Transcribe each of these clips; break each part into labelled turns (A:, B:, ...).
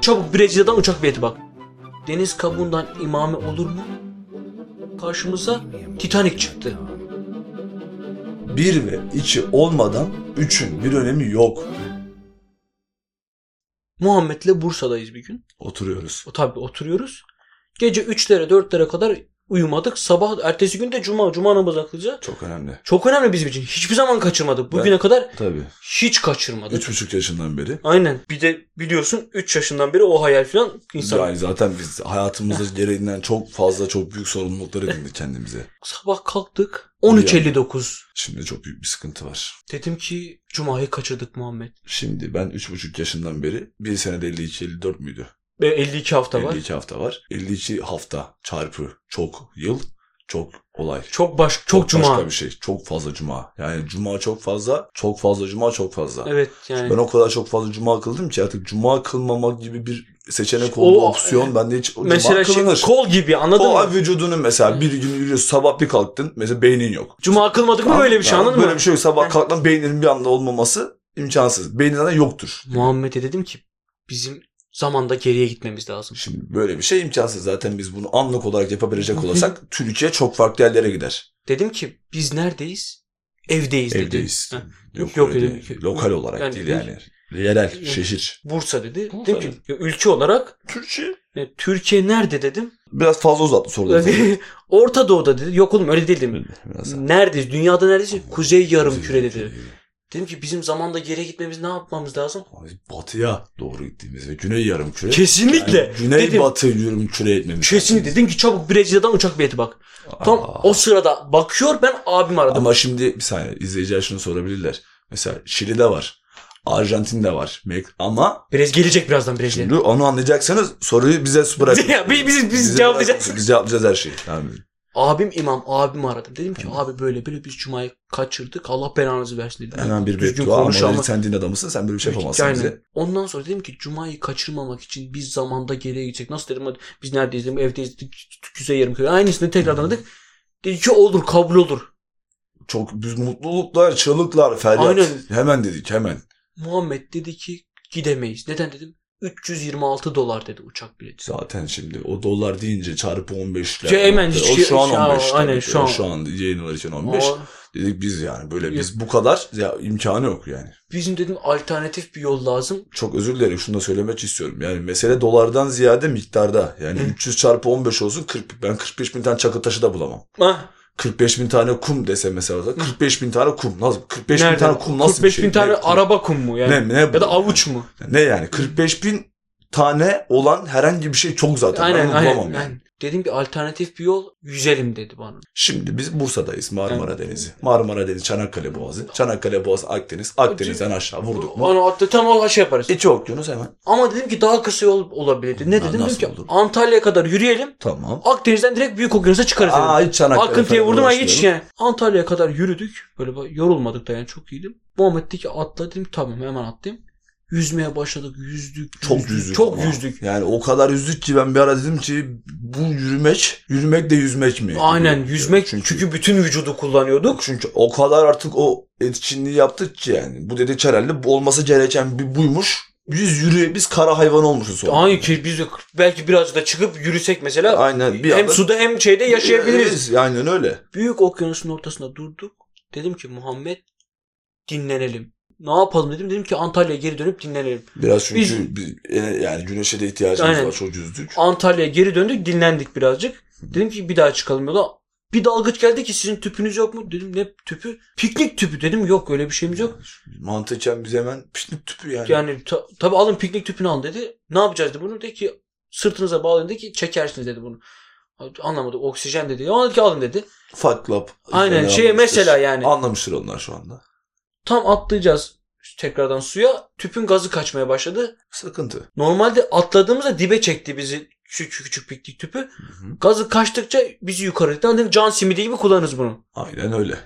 A: Çabuk Brezilya'dan uçak bileti bak. Deniz kabuğundan imame olur mu? Karşımıza Titanic çıktı.
B: Bir ve iki olmadan üçün bir önemi yok.
A: Muhammed'le Bursa'dayız bir gün.
B: Oturuyoruz.
A: O tabii oturuyoruz. Gece 3'lere 4'lere kadar uyumadık. Sabah ertesi gün de cuma. Cuma namazına kılacağız.
B: Çok önemli.
A: Çok önemli bizim için. Hiçbir zaman kaçırmadık. Bugüne kadar
B: Tabii.
A: hiç kaçırmadık.
B: Üç buçuk yaşından beri.
A: Aynen. Bir de biliyorsun 3 yaşından beri o hayal filan insan.
B: Yani zaten biz hayatımızda gereğinden çok fazla çok büyük sorumluluklar edindik kendimize.
A: Sabah kalktık. 13.59.
B: Şimdi çok büyük bir sıkıntı var.
A: Dedim ki Cuma'yı kaçırdık Muhammed.
B: Şimdi ben üç buçuk yaşından beri bir senede 52-54 müydü?
A: Ve 52 hafta var.
B: 52 hafta var. 52 hafta çarpı çok yıl çok olay.
A: Çok baş çok, Cuma.
B: Başka bir şey. Çok fazla cuma. Yani cuma çok fazla, çok fazla cuma çok fazla.
A: Evet yani.
B: Ben o kadar çok fazla cuma kıldım ki artık cuma kılmamak gibi bir seçenek
A: O- e,
B: oldu, opsiyon. Ben de hiç
A: Mesela şey,
B: cuma kılınır.
A: kol gibi anladın
B: Kol-
A: mı?
B: vücudunun mesela bir gün yürüyorsun sabah bir kalktın mesela beynin yok.
A: Cuma kılmadık mı böyle bir şey
B: Yani
A: anladın
B: Böyle
A: mı?
B: bir şey yok. Sabah
A: Heh.
B: kalktın beyninin bir anda olmaması imkansız. Beynin zaten yoktur.
A: Muhammed'e dedim ki bizim zamanda geriye gitmemiz lazım.
B: Şimdi böyle bir şey imkansız. Zaten biz bunu anlık olarak yapabilecek olsak Türkiye çok farklı yerlere gider.
A: Dedim ki biz neredeyiz? Evdeyiz, dedi.
B: Evdeyiz.
A: Ha,
B: Yok,
A: Yok
B: öyle
A: dedim.
B: değil. Lokal olarak
A: Yani
B: değil
A: değil.
B: yani. Yerel,
A: Yani-
B: şehir.
A: Bursa dedi.
B: Bursa
A: dedim ki ülke olarak
B: Türkçe
A: e, Türkiye nerede dedim.
B: biraz fazla uzattı soruları.
A: Orta Doğu'da dedi. Yok oğlum öyle değil dedim.
B: Biraz-
A: Neredeyiz? Dünyada neredeyiz? Kuzey yarım kürede
B: Kuzey
A: dedi. Dedim ki bizim zamanda geriye gitmemiz ne yapmamız lazım?
B: Abi Batıya doğru gittiğimiz ve güney yarım küre.
A: Kesinlikle.
B: güney
A: dedim.
B: batı yarım küre etmemiz
A: Kesin
B: lazım.
A: dedim ki çabuk Brezilya'dan uçak bileti bak.
B: Aa.
A: Tam o sırada bakıyor ben abim aradım.
B: Ama şimdi bir saniye izleyiciler şunu sorabilirler. Mesela Şili'de var. Arjantin'de var. Mek- Ama
A: Brez gelecek birazdan Brezilya.
B: şimdi onu anlayacaksanız soruyu bize bırakın.
A: Ya biz- biz- biz
B: Bize
A: cevaplayacağız.
B: bırakın. Biz cevaplayacağız her şeyi. Tamam.
A: Abim imam abim aradı. Dedim ki abi böyle böyle biz cumayı kaçırdık. Allah belanızı versin dedim.
B: Hemen bir
A: Düzgün
B: beddua ama
A: konuş ama-
B: dedi, sen din adamısın sen böyle bir şey yapamazsın
A: Yani
B: bize.
A: Ondan sonra dedim ki cumayı kaçırmamak için biz zamanda geriye gidecek. Nasıl dedim hadi biz neredeyiz dedim evdeyiz dedik, güzel yarım köy. Aynısını tekrardan dedik. Dedi ki olur kabul olur.
B: Çok biz mutluluklar, çığlıklar, feryat.
A: Aynen.
B: Hemen dedik hemen.
A: Muhammed dedi ki gidemeyiz. Neden dedim? 326 dolar dedi uçak bileti.
B: Zaten şimdi o dolar deyince çarpı 15
A: Şey, hemen
B: O
A: şey-
B: şu an
A: şey-
B: 15.
A: aynen,
B: tabii.
A: şu
B: O
A: an.
B: şu an yayınlar için 15.
A: Aa,
B: Dedik biz yani böyle biz bu kadar ya imkanı yok yani.
A: bizim dedim alternatif bir yol lazım.
B: Çok özür dilerim şunu da söylemek istiyorum. Yani mesele dolardan ziyade miktarda. Yani
A: Hı.
B: 300 çarpı 15 olsun 40, ben 45 bin tane çakıl taşı da bulamam.
A: Ah,
B: 45 bin tane kum dese mesela 45 bin tane kum nasıl? 45
A: nereden?
B: bin tane kum nasıl
A: 45
B: bir şey?
A: bin tane
B: Ne-
A: araba kum mu yani?
B: ne, ne bu?
A: Ya da avuç mu?
B: Ne yani 45 bin tane olan herhangi bir şey çok zaten. ben
A: aynen
B: onu
A: aynen.
B: bulamam yani.
A: aynen. Dedim ki alternatif bir yol yüzelim dedi bana.
B: Şimdi biz Bursa'dayız Marmara Denizi. Marmara Denizi Çanakkale Boğazı. Çanakkale Boğazı Akdeniz. Akdeniz'den aşağı vurduk mu?
A: Onu attı tam o şey yaparız.
B: İki okyanus hemen.
A: Ama dedim ki daha kısa yol olabilir. dedi. Ne
B: Na-
A: dedim? Dedim
B: nasıl
A: ki
B: olur?
A: Antalya'ya kadar yürüyelim.
B: Tamam.
A: Akdeniz'den direkt Büyük Okyanus'a çıkarız dedim.
B: Aa hiç Çanakkale.
A: Akıntıya
B: falan
A: vurdum ama hiç
B: uğraşmıyorum.
A: yani. Antalya'ya kadar yürüdük. Böyle bak- yorulmadık da yani çok iyiydim. Muhammed dedi ki atla dedim ki, tamam hemen atlayayım. Yüzmeye başladık. Yüzdük.
B: Çok yüzdük.
A: Çok
B: ama.
A: yüzdük.
B: Yani o kadar yüzdük ki ben bir ara dedim ki bu yürümek, yürümek de yüzmek mi?
A: Aynen
B: Diyorum.
A: yüzmek çünkü,
B: Çünkü-
A: bütün vücudu kullanıyorduk.
B: Çünkü o kadar artık o etkinliği yaptık ki yani. Bu dedik herhalde bu olması gereken bir buymuş. Biz yürü, biz kara hayvan olmuşuz sonra.
A: Aynı ki biz de belki biraz da çıkıp yürüsek mesela
B: Aynen. Bir
A: hem
B: anda-
A: suda hem şeyde yaşayabiliriz.
B: Evet, Aynen öyle.
A: Büyük okyanusun ortasında durduk. Dedim ki Muhammed dinlenelim. Ne yapalım dedim. Dedim ki Antalya'ya geri dönüp dinlenelim.
B: Biraz çünkü
A: Biz-
B: bir- e, yani güneşe de ihtiyacımız
A: Aynen.
B: var. Çok yüzdük.
A: Antalya'ya geri döndük dinlendik birazcık. Dedim ki bir daha çıkalım yola. Bir dalgıç geldi ki sizin tüpünüz yok mu? Dedim ne tüpü? Piknik tüpü dedim. Yok öyle bir şeyimiz yok.
B: Mantıken biz hemen pişlik tüpü yani.
A: Yani ta- tabi alın piknik tüpünü alın dedi. Ne yapacağız dedi bunu. Dedi ki sırtınıza bağlayın dedi ki çekersiniz dedi bunu. Anlamadık oksijen dedi. Ona dedi ki alın dedi.
B: Fuck club.
A: Aynen,
B: Yani
A: şey
B: anlamıştır.
A: mesela yani.
B: Anlamıştır onlar şu anda.
A: Tam atlayacağız tekrardan suya. Tüpün gazı kaçmaya başladı.
B: Sıkıntı.
A: Normalde atladığımızda dibe çekti bizi küçük küçük piknik tüpü.
B: Hı-hı.
A: Gazı kaçtıkça bizi yukarı. Yani can simidi gibi kullanırız bunu.
B: Aynen öyle.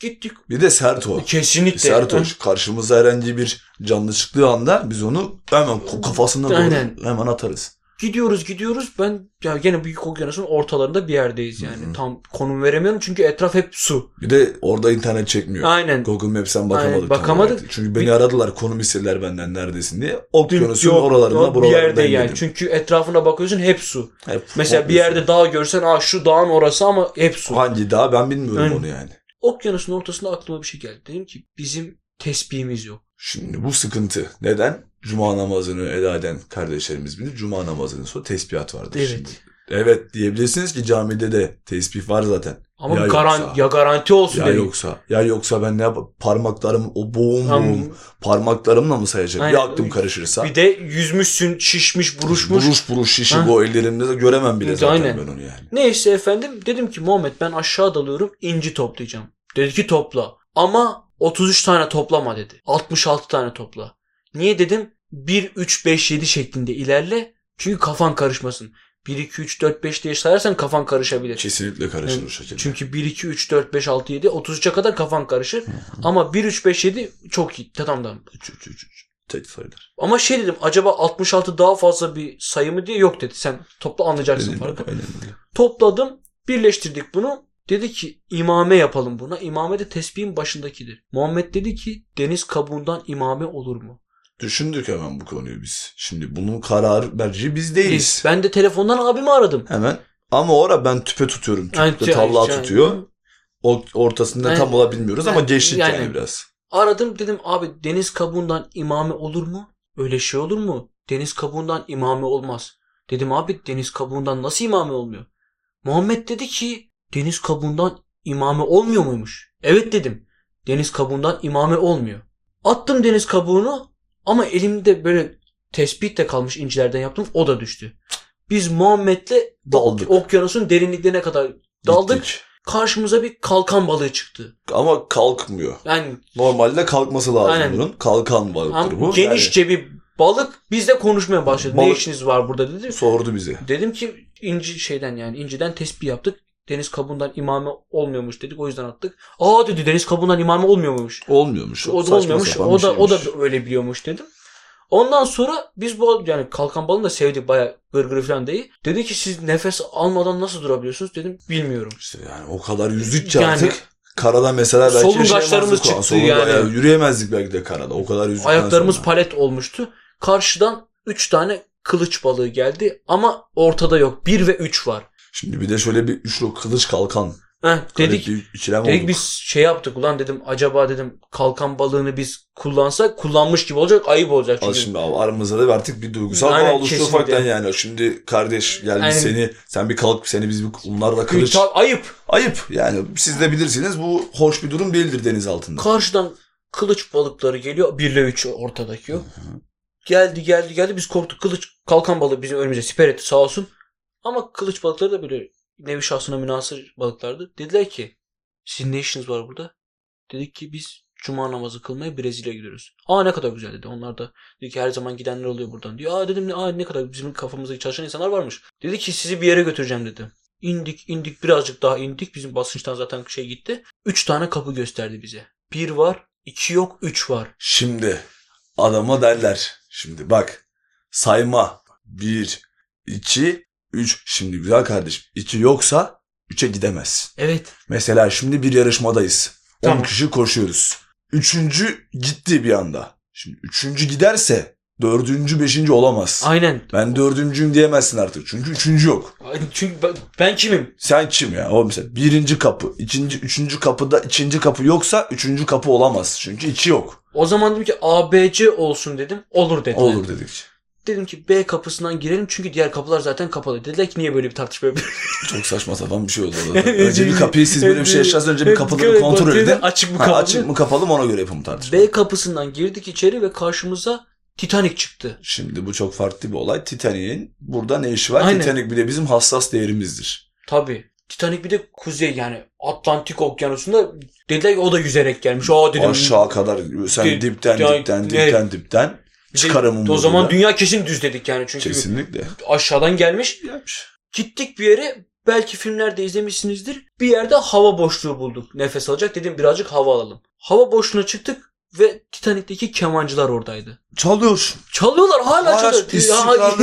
A: Gittik.
B: Bir de sert o.
A: Kesinlikle.
B: E, Sert o. Karşımıza herhangi bir canlı çıktığı anda biz onu hemen kafasından
A: Aynen.
B: hemen atarız.
A: Gidiyoruz gidiyoruz. Ben ya gene büyük okyanusun ortalarında bir yerdeyiz yani.
B: Hı hı.
A: Tam konum veremiyorum çünkü etraf hep su.
B: Bir de orada internet çekmiyor.
A: Aynen.
B: Google Maps'ten bakamadık.
A: Aynen,
B: tam
A: bakamadık.
B: olarak. Çünkü beni
A: Bir-
B: aradılar konum istediler benden neredesin diye. Okyanusun
A: Yok,
B: oralarında
A: yok, bir
B: buralarından
A: yerde yani.
B: yedim.
A: Çünkü etrafına bakıyorsun hep su.
B: Hep
A: Mesela bir
B: okyanusun.
A: yerde dağ görsen aa şu dağın orası ama hep su.
B: Hangi dağ ben bilmiyorum
A: Aynen.
B: onu yani.
A: Okyanusun ortasında aklıma bir şey geldi. Dedim ki bizim tesbihimiz yok.
B: Şimdi bu sıkıntı. Neden? Cuma namazını eda eden kardeşlerimiz bilir. Cuma namazının sonra tesbihat vardır
A: Evet.
B: şimdi. Evet diyebilirsiniz ki camide de tesbih var zaten.
A: Ama
B: Ya
A: garan
B: yoksa.
A: ya garanti olsun
B: Ya
A: dedim.
B: yoksa. Ya yoksa ben ne yap parmaklarım o boğum
A: Tam-
B: boğum parmaklarımla mı sayacağım?
A: Aynen.
B: Ya aklım karışırsa.
A: bir de yüzmüşsün, şişmiş, buruşmuş.
B: Buruş buruş şişik
A: Ha?
B: o ellerimde de göremem bile
A: Evet,
B: zaten
A: aynen.
B: ben onu yani.
A: Neyse efendim dedim ki Muhammed ben aşağı dalıyorum inci toplayacağım. Dedi ki topla. Ama 33 tane toplama dedi. 66 tane topla. Niye dedim? 1 3 5 7 şeklinde ilerle. Çünkü kafan karışmasın. 1 2 3 4 5 diye sayarsan kafan karışabilir.
B: Kesinlikle karışır o şekilde.
A: Çünkü 1 2 3 4 5 6 7 33'e e kadar kafan karışır. Ama 1 3 5 7 çok iyi. Tamam tamam.
B: Üç, üç, üç, üç. Tek sayılar.
A: Ama şey dedim acaba 66 daha fazla bir sayı mı diye yok dedi. Sen topla anlayacaksın
B: Aynen,
A: farkı.
B: aynen öyle.
A: Topladım, birleştirdik bunu. Dedi ki imame yapalım buna. İmame de tesbihin başındakidir. Muhammed dedi ki deniz kabuğundan imame olur mu?
B: Düşündük hemen bu konuyu biz. Şimdi bunun karar merci biz değiliz.
A: Biz- Ben de telefondan abimi aradım.
B: Hemen. Ama ora ben tüpe tutuyorum. Tüple
A: Yani-
B: tavla
A: yani-
B: tutuyor. O ortasında
A: Yani-
B: tam olabilmiyoruz ama
A: Yani-
B: geçtik yani,
A: yani.
B: biraz.
A: Aradım dedim abi deniz kabuğundan imame olur mu? Öyle şey olur mu? Deniz kabuğundan imame olmaz. Dedim abi deniz kabuğundan nasıl imame olmuyor? Muhammed dedi ki deniz kabuğundan imame olmuyor muymuş? Evet dedim. Deniz kabuğundan imame olmuyor. Attım deniz kabuğunu ama elimde böyle tespit de kalmış incilerden yaptım o da düştü. Biz Muhammed'le
B: Daldık.
A: okyanusun derinliklerine kadar daldık.
B: Gittik.
A: Karşımıza bir kalkan balığı çıktı.
B: Ama kalkmıyor.
A: Yani
B: Normalde kalkması lazım
A: Aynen.
B: bunun. Kalkan balıktır
A: Am-
B: bu.
A: genişçe bir balık biz de konuşmaya başladı. Ne
B: Balık-
A: işiniz var burada dedi.
B: Yani sordu bize.
A: Dedim ki inci şeyden yani inciden tespih yaptık. Deniz kabuğundan imame olmuyormuş dedik. O yüzden attık. Aa dedi deniz kabuğundan imame olmuyormuş.
B: Olmuyormuş.
A: O da
B: Saçma
A: olmuyormuş.
B: sapan
A: O
B: bir
A: da o da
B: şeymiş.
A: öyle biliyormuş dedim. Ondan sonra biz bu yani kalkan balığını da sevdik bayağı gırgırı falan değil. Dedi ki siz nefes almadan nasıl durabiliyorsunuz? Dedim bilmiyorum.
B: İşte yani o kadar yüzdükçe
A: Yani-
B: artık karada mesela belki
A: Solungaçlarımız
B: yaşayamazdık o an.
A: çıktı
B: Solunga-
A: yani.
B: yani Yürüyemezdik belki de karada. O kadar yüzdükten
A: Ayaklarımız
B: sonra.
A: palet olmuştu. Karşıdan 3 tane kılıç balığı geldi ama ortada yok. 1 ve 3 var.
B: Şimdi bir de şöyle bir üçlü kılıç kalkan.
A: Heh,
B: Garip
A: dedik
B: bir ikilem
A: Dedik
B: olduk.
A: biz şey yaptık ulan dedim acaba dedim kalkan balığını biz kullansak kullanmış gibi olacak ayıp olacak
B: Al
A: çünkü.
B: şimdi abi aramızda da bir artık bir duygusal
A: Aynen,
B: bağ oluştu
A: kesinlikle.
B: ufaktan yani. Şimdi kardeş geldi
A: Aynen.
B: seni, sen bir kalk seni biz bir bunlarla
A: Çünkü
B: kılıç.
A: ta- ayıp.
B: Ayıp yani siz de bilirsiniz bu hoş bir durum değildir deniz altında.
A: Karşıdan kılıç balıkları geliyor. 1 ile 3 ortadaki yok. Geldi geldi geldi biz korktuk. Kılıç kalkan balığı bizim önümüze siper etti sağ olsun. Ama kılıç balıkları da böyle nevi şahsına münasır balıklardı. Dediler ki sizin ne işiniz var burada? Dedik ki biz cuma namazı kılmaya Brezilya'ya gidiyoruz. Aa ne kadar güzel dedi. Onlar da dedi ki her zaman gidenler oluyor buradan diyor. Aa dedim aa ne kadar bizim kafamızda çalışan insanlar varmış. Dedi ki sizi bir yere götüreceğim dedi. İndik indik birazcık daha indik. Bizim basınçtan zaten şey gitti. Üç tane kapı gösterdi bize. Bir var, iki yok, üç var.
B: Şimdi adama derler. Şimdi bak sayma. Bir, iki, üç. Şimdi güzel kardeşim iki yoksa üçe gidemezsin.
A: Evet.
B: Mesela şimdi bir yarışmadayız. 10
A: Tamam.
B: kişi koşuyoruz. Üçüncü gitti bir anda. Şimdi üçüncü giderse dördüncü, beşinci olamaz.
A: Aynen.
B: Ben dördüncüyüm diyemezsin artık. Çünkü üçüncü yok.
A: Çünkü ben, ben kimim?
B: Sen kim ya? O mesela birinci kapı, ikinci, üçüncü kapıda ikinci kapı yoksa üçüncü kapı olamaz. Çünkü iki yok.
A: O zaman dedim ki ABC olsun dedim. Olur dediler.
B: Olur dedik.
A: Dedim ki B kapısından girelim çünkü diğer kapılar zaten kapalı. Dediler ki niye böyle bir tartışma yapıyorsun?
B: Çok saçma sapan bir şey oldu. orada. önce bir kapıyı siz böyle bir şey yaşarsanız önce bir kapıları
A: Evet,
B: kontrol edin.
A: Açık mı
B: Ha,
A: kapalı?
B: açık mı kapalı mı ona göre yapımı tartışma.
A: B kapısından girdik içeri ve karşımıza Titanic çıktı.
B: Şimdi bu çok farklı bir olay. Titanic'in burada ne işi var?
A: Aynen.
B: Titanic bile bizim hassas değerimizdir.
A: Tabii. Titanic bir de kuzey yani Atlantik okyanusunda dediler ki o da yüzerek gelmiş. Aa dedim.
B: Aşağı kadar sen
A: Di-
B: dipten
A: di-
B: dipten
A: ne-
B: dipten dipten
A: Bir de-
B: çıkarımın
A: O zaman dünya kesin düz dedik yani çünkü
B: Kesinlikle.
A: aşağıdan gelmiş. Gittik bir yere belki filmlerde izlemişsinizdir. Bir yerde hava boşluğu bulduk. Nefes alacak dedim birazcık hava alalım. Hava boşluğuna çıktık Ve Titanik'teki kemancılar oradaydı.
B: Çalıyor.
A: Çalıyorlar hala
B: Hala
A: çalıyor.
B: istikrarlı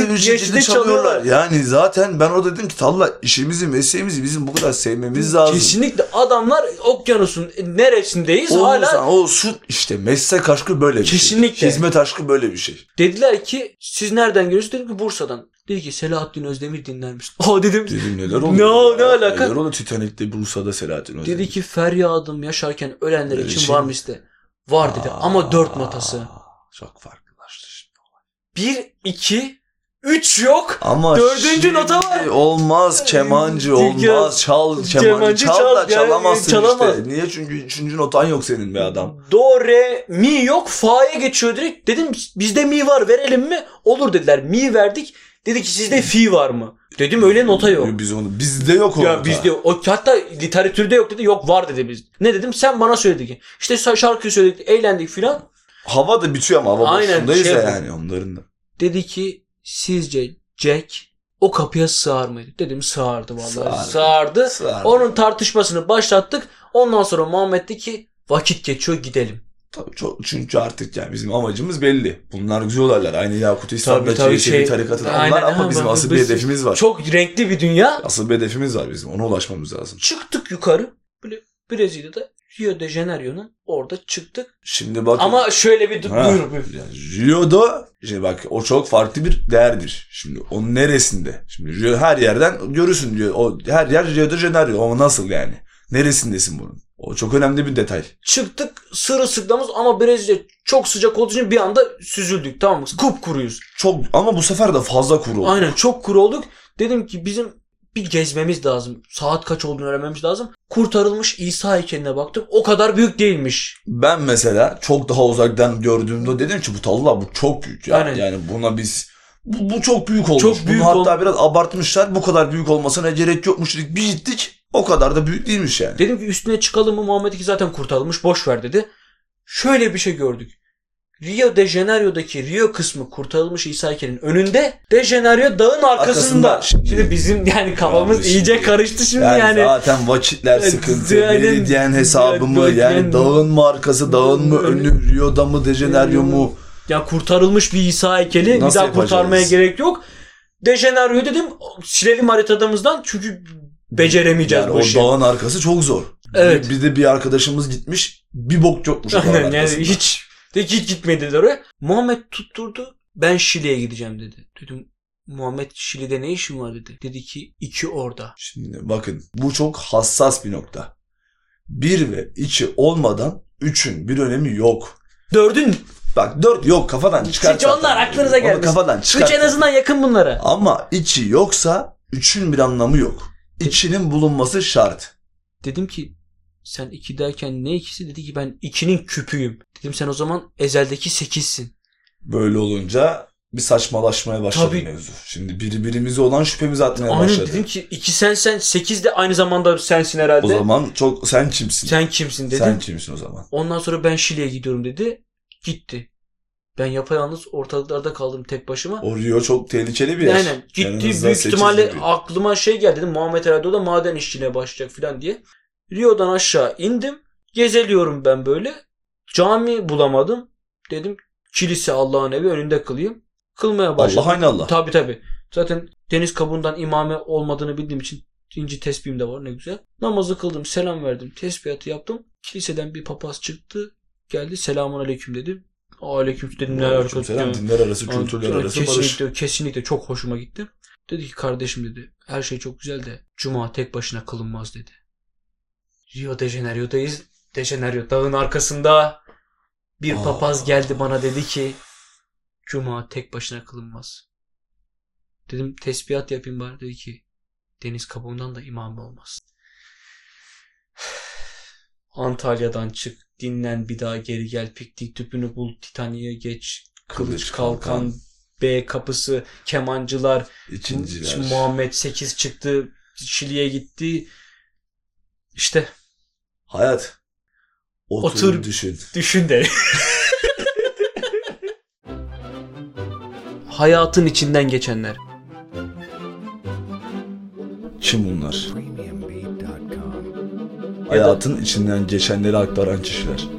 A: Ya,
B: bir şekilde
A: gençliğe
B: çalıyorlar. Yani zaten ben orada dedim ki Talha işimizi mesleğimizi bizim bu kadar sevmemiz lazım.
A: Kesinlikle adamlar okyanusun neresindeyiz
B: O,
A: hala
B: insan, o su işte meslek aşkı böyle bir
A: Kesinlikle.
B: şey. Hizmet aşkı böyle bir şey.
A: dediler ki siz nereden geliyorsunuz? Dedim ki Bursa'dan. Dedi ki Selahattin Özdemir dinlermiş. Aa dedim.
B: Dedim neler
A: Ne
B: oldu?
A: o, ne
B: ya?
A: alaka?
B: Neler oldu Titanik'te Bursa'da Selahattin Özdemir.
A: Dedi ki feryadım yaşarken ölenler
B: Ölenler
A: için,
B: için-
A: var mı iste? Var dedi
B: Aa,
A: ama dört matası.
B: Çok farklılaştı şimdi.
A: Bir, iki, üç yok.
B: Ama
A: Dördüncü
B: şimdi
A: nota var.
B: Olmaz kemancı olmaz. Çal kemancı,
A: Kemancı
B: çal,
A: çal,
B: da
A: yani
B: çalamazsın
A: çalamaz.
B: işte. Niye? Çünkü üçüncü notan yok senin be adam.
A: Do, re, mi yok. Fa'ya geçiyor direkt. Dedim bizde mi var verelim mi? Olur dediler. Mi verdik. Dedi ki sizde fi var mı? Dedim öyle nota yok.
B: Biz onu bizde yok o
A: Ya
B: nota.
A: bizde yok. O, hatta literatürde yok dedi. Yok var dedi biz. Ne dedim? Sen bana söyledin ki. İşte sa- şarkıyı söyledik. Eğlendik filan.
B: Hava da bitiyor ama hava
A: Aynen,
B: boşluğundayız
A: şey
B: ya
A: bu.
B: yani onların da.
A: Dedi ki sizce Jack o kapıya sığar mıydı? Dedim sığardı vallahi.
B: Sığardı.
A: Sığardı.
B: Sığar.
A: Onun tartışmasını başlattık. Ondan sonra Muhammed dedi ki vakit geçiyor gidelim.
B: Tabii çok, çünkü artık yani bizim amacımız belli. Bunlar güzel olaylar. Aynı Yakut
A: Tabii,
B: İslam'da
A: tabii,
B: tabii,
A: şey-
B: tarikatı
A: Aynen,
B: onlar ama
A: ha,
B: bizim
A: bak,
B: asıl
A: biz-
B: bir hedefimiz var.
A: Çok renkli bir dünya.
B: Asıl bir hedefimiz var bizim. Ona ulaşmamız lazım.
A: Çıktık yukarı. Böyle Brezilya'da Rio de Janeiro'nun orada çıktık.
B: Şimdi bakın.
A: Ama şöyle bir
B: Ha.
A: buyur buyur.
B: Yani Rio'da işte bak o çok farklı bir değerdir. Şimdi onun neresinde? Şimdi Rio her yerden görürsün diyor. O her yer Rio de Janeiro. Ama nasıl yani? Neresindesin bunun? O çok önemli bir detay.
A: Çıktık sırılsıklamız ama Brezilya çok sıcak olduğu için bir anda süzüldük tamam mı? Kupkuruyuz.
B: Çok ama bu sefer de fazla kuru. oldu.
A: Aynen çok kuru olduk. Dedim ki bizim bir gezmemiz lazım. Saat kaç olduğunu öğrenmemiz lazım. Kurtarılmış İsa heykeline baktım. O kadar büyük değilmiş.
B: Ben mesela çok daha uzaktan gördüğümde dedim ki bu talla bu çok büyük. ya.
A: Aynen.
B: Yani buna biz bu, bu çok büyük olmuş.
A: Çok
B: Bunu
A: büyük
B: hatta
A: ol-
B: biraz abartmışlar. Bu kadar büyük olmasına gerek yokmuş dedik. Bir gittik. O kadar da büyük değilmiş yani.
A: Dedim ki üstüne çıkalım mı Muhammed ki zaten kurtarılmış boş ver dedi. Şöyle bir şey gördük. Rio de Janeiro'daki Rio kısmı kurtarılmış İsa heykelinin önünde de Janeiro dağın arkasında.
B: Arkasında. Şimdi-
A: Şimdi bizim yani kafamız
B: Abi şimdi-
A: iyice karıştı şimdi
B: Yani,
A: yani.
B: zaten vakitler
A: Yani
B: sıkıntı.
A: yani-
B: Meridyen hesabı mı?
A: yani-
B: Yani dağın mı arkası, dağın mı
A: Önü-
B: önü, Rio'da mı, Dejeneryo mu?
A: Ya kurtarılmış bir İsa heykeli bir
B: Nasıl
A: daha kurtarmaya
B: yapacağız?
A: gerek yok. De Janeiro'yu dedim silelim haritamızdan çünkü beceremeyeceğiz
B: Yani
A: bu
B: o
A: işi.
B: dağın arkası çok zor.
A: Evet.
B: Bir, bir de bir arkadaşımız gitmiş. Bir bok yokmuş o dağın
A: Aynen yani
B: arkasında.
A: hiç de ki hiç gitmedi dediler oraya. Muhammed tutturdu. Ben Şili'ye gideceğim dedi. Dedim Muhammed Şili'de ne işin var dedi. Dedi ki iki orada.
B: Şimdi bakın bu çok hassas bir nokta. 1 ve 2 olmadan 3'ün bir önemi yok.
A: Dördün.
B: Bak 4 yok kafadan çıkart.
A: Hiç onlar
B: zaten.
A: aklınıza
B: Onu
A: gelmesin.
B: kafadan
A: Üç
B: çıkart.
A: en azından yakın bunlara.
B: Ama 2 yoksa 3'ün bir anlamı yok. 2'nin bulunması şart.
A: Dedim ki sen iki derken ne ikisi? Dedi ki ben ikinin küpüyüm. Dedim sen o zaman ezeldeki sekizsin.
B: Böyle olunca bir saçmalaşmaya başladı
A: Tabii.
B: mevzu. Şimdi birbirimize olan şüphemizi atmaya
A: Aynen
B: başladı.
A: dedim ki iki sen sen sekiz de aynı zamanda sensin herhalde.
B: O zaman çok sen kimsin?
A: Sen kimsin dedim.
B: Sen kimsin o zaman?
A: Ondan sonra ben Şili'ye gidiyorum dedi. Gitti. Ben yapayalnız ortalıklarda kaldım tek başıma.
B: O Rio çok tehlikeli bir yer.
A: Aynen. Gitti
B: Yanınızda
A: büyük
B: sekiz
A: ihtimalle
B: gibi.
A: aklıma şey geldi dedim. Muhammed herhalde o da maden işçiliğine başlayacak falan diye. Rio'dan aşağı indim. Gezeliyorum ben böyle. Cami bulamadım. Dedim kilise Allah'ın evi önünde kılayım. Kılmaya başladım.
B: Allah aynı Allah.
A: Tabi tabi. Zaten deniz kabuğundan imame olmadığını bildiğim için inci tesbihim de var ne güzel. Namazı kıldım, selam verdim, tesbihatı yaptım. Kiliseden bir papaz çıktı. Geldi selamun aleyküm dedi. Aleyküm dedim ne alakası
B: Selam
A: yok.
B: dinler arası,
A: Aa,
B: kültürler arası barış.
A: kesinlikle, kesinlikle çok hoşuma gitti. Dedi ki kardeşim dedi her şey çok güzel de cuma tek başına kılınmaz dedi. Rio de Janeiro'dayız. De Janeiro dağın arkasında bir
B: Aa.
A: papaz geldi bana dedi ki cuma tek başına kılınmaz. Dedim tesbihat yapayım bari dedi ki deniz kabuğundan da imam olmaz. Antalya'dan çık, dinlen bir daha geri gel, piknik tüpünü bul, Titania'ya geç, kılıç,
B: Kılıç
A: kalkan,
B: kalkan.
A: B kapısı, kemancılar,
B: İkinciler.
A: şimdi Muhammed 8 çıktı, Şili'ye gitti. İşte
B: Hayat. Otur,
A: Otur.
B: düşün.
A: düşün de. Hayatın içinden geçenler.
B: Kim bunlar?
C: premiumbeat.com.
B: Hayatın içinden geçenleri aktaran kişiler.